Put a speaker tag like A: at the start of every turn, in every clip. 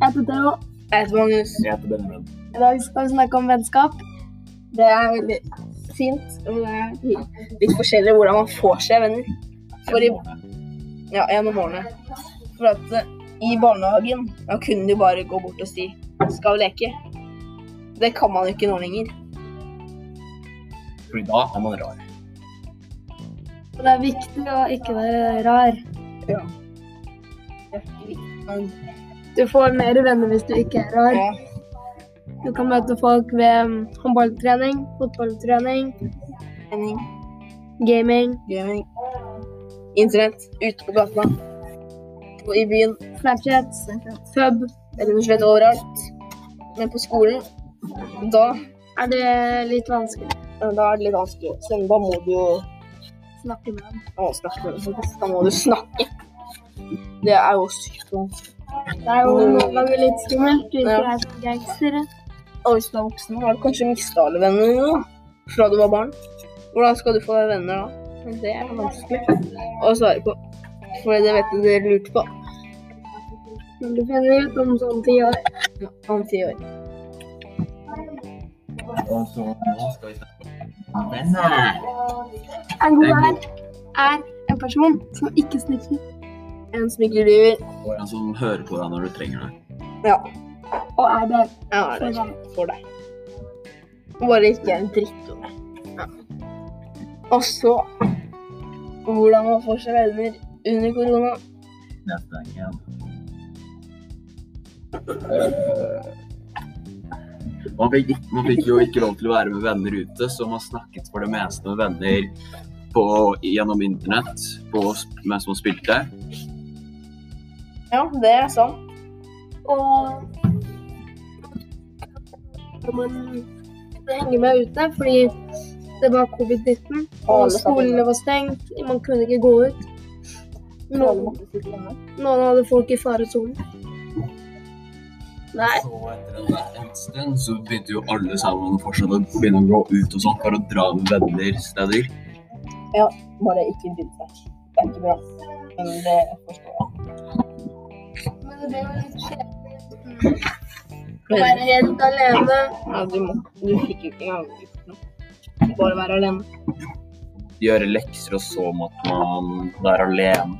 A: Jeg heter Theo.
B: Jeg heter Magnus.
C: Jeg heter Benjamin.
A: I dag skal vi snakke om vennskap.
B: Det er veldig fint, og det er litt- litt forskjellig hvordan man får seg venner. For i, ja, gjennom årene. For at eh, i barnehagen da kunne du bare gå bort og si 'skal vi leke'. Det kan man jo ikke nå lenger.
C: Fordi da er man rar.
A: Og det er viktig å ikke være rar.
B: Men,
A: Du får mer venner hvis du ikke er rar.
B: ja.
A: Du kan møte folk ved mm, håndballtrening, fotballtrening,
B: Trening,
A: gaming,
B: gaming, internett, ute på gata, og i byen.
A: Snapchat, pub.
B: Eller noe slett overalt. Men på skolen, da,
A: Er det litt vanskelig
B: da er det litt vanskelig. Så da må du jo
A: å snakke med dem?
B: å snakke med dem. Da må du snakke. Det er jo sykt vanskelig.
A: Det er jo noen ganger litt skummelt. Du ikke
B: Ja.
A: er som gangstere.
B: Og hvis du er voksen, har du kanskje mista alle vennene dine da, fra du var barn. Hvordan skal du få deg venner da? Men Det er vanskelig å svare på. For det vet du dere lurte på
A: Men du finner ut om sånn ti år.
B: Ja, om ti år.
C: Og så nå skal vi snakke om venner.
A: En god venn er en person som ikke snikker.
B: En som ikke lyver.
C: Og en som hører på deg når du trenger det.
B: Ja,
A: Og er det
B: jeg er der for deg. Bare ikke en drittunge. Ja. Og så hvordan man får seg venner under korona.
C: Neste gang igjen. Eh, Man fikk, ikke- man fikk jo ikke lov til å være med venner ute, så man snakket for det meste med venner på, gjennom internett på, sp- mens man spilte.
B: Ja, det er sant.
A: Og når man henger med ute fordi det var covid-19, og
B: Alle sammen.
A: skolene var stengt. Man kunne ikke gå ut. Noen, noen hadde folk i faresonen. Nei,
C: Så etter en, en stund så begynte jo alle sammen fortsatt å begynne å gå ut og sånn for å dra med venner steder.
B: Bare ikke bry deg. Det er ikke bra. Men det forstår jeg.
A: men det ble jo litt kjedelig. Å være helt alene.
B: Ja, du, må, du fikk jo ikke engang gjort noe. Bare være alene.
C: Gjøre lekser og så måtte man være alene.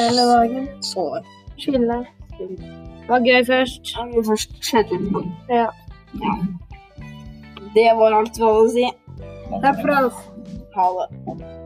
A: Hele dagen.
B: Sove.
A: Chille. Det var gøy først.
B: Ja, vi først skjedde det.
A: Ja.
B: Det var alt vi hadde å si.
A: Takk for oss.
B: Ha det.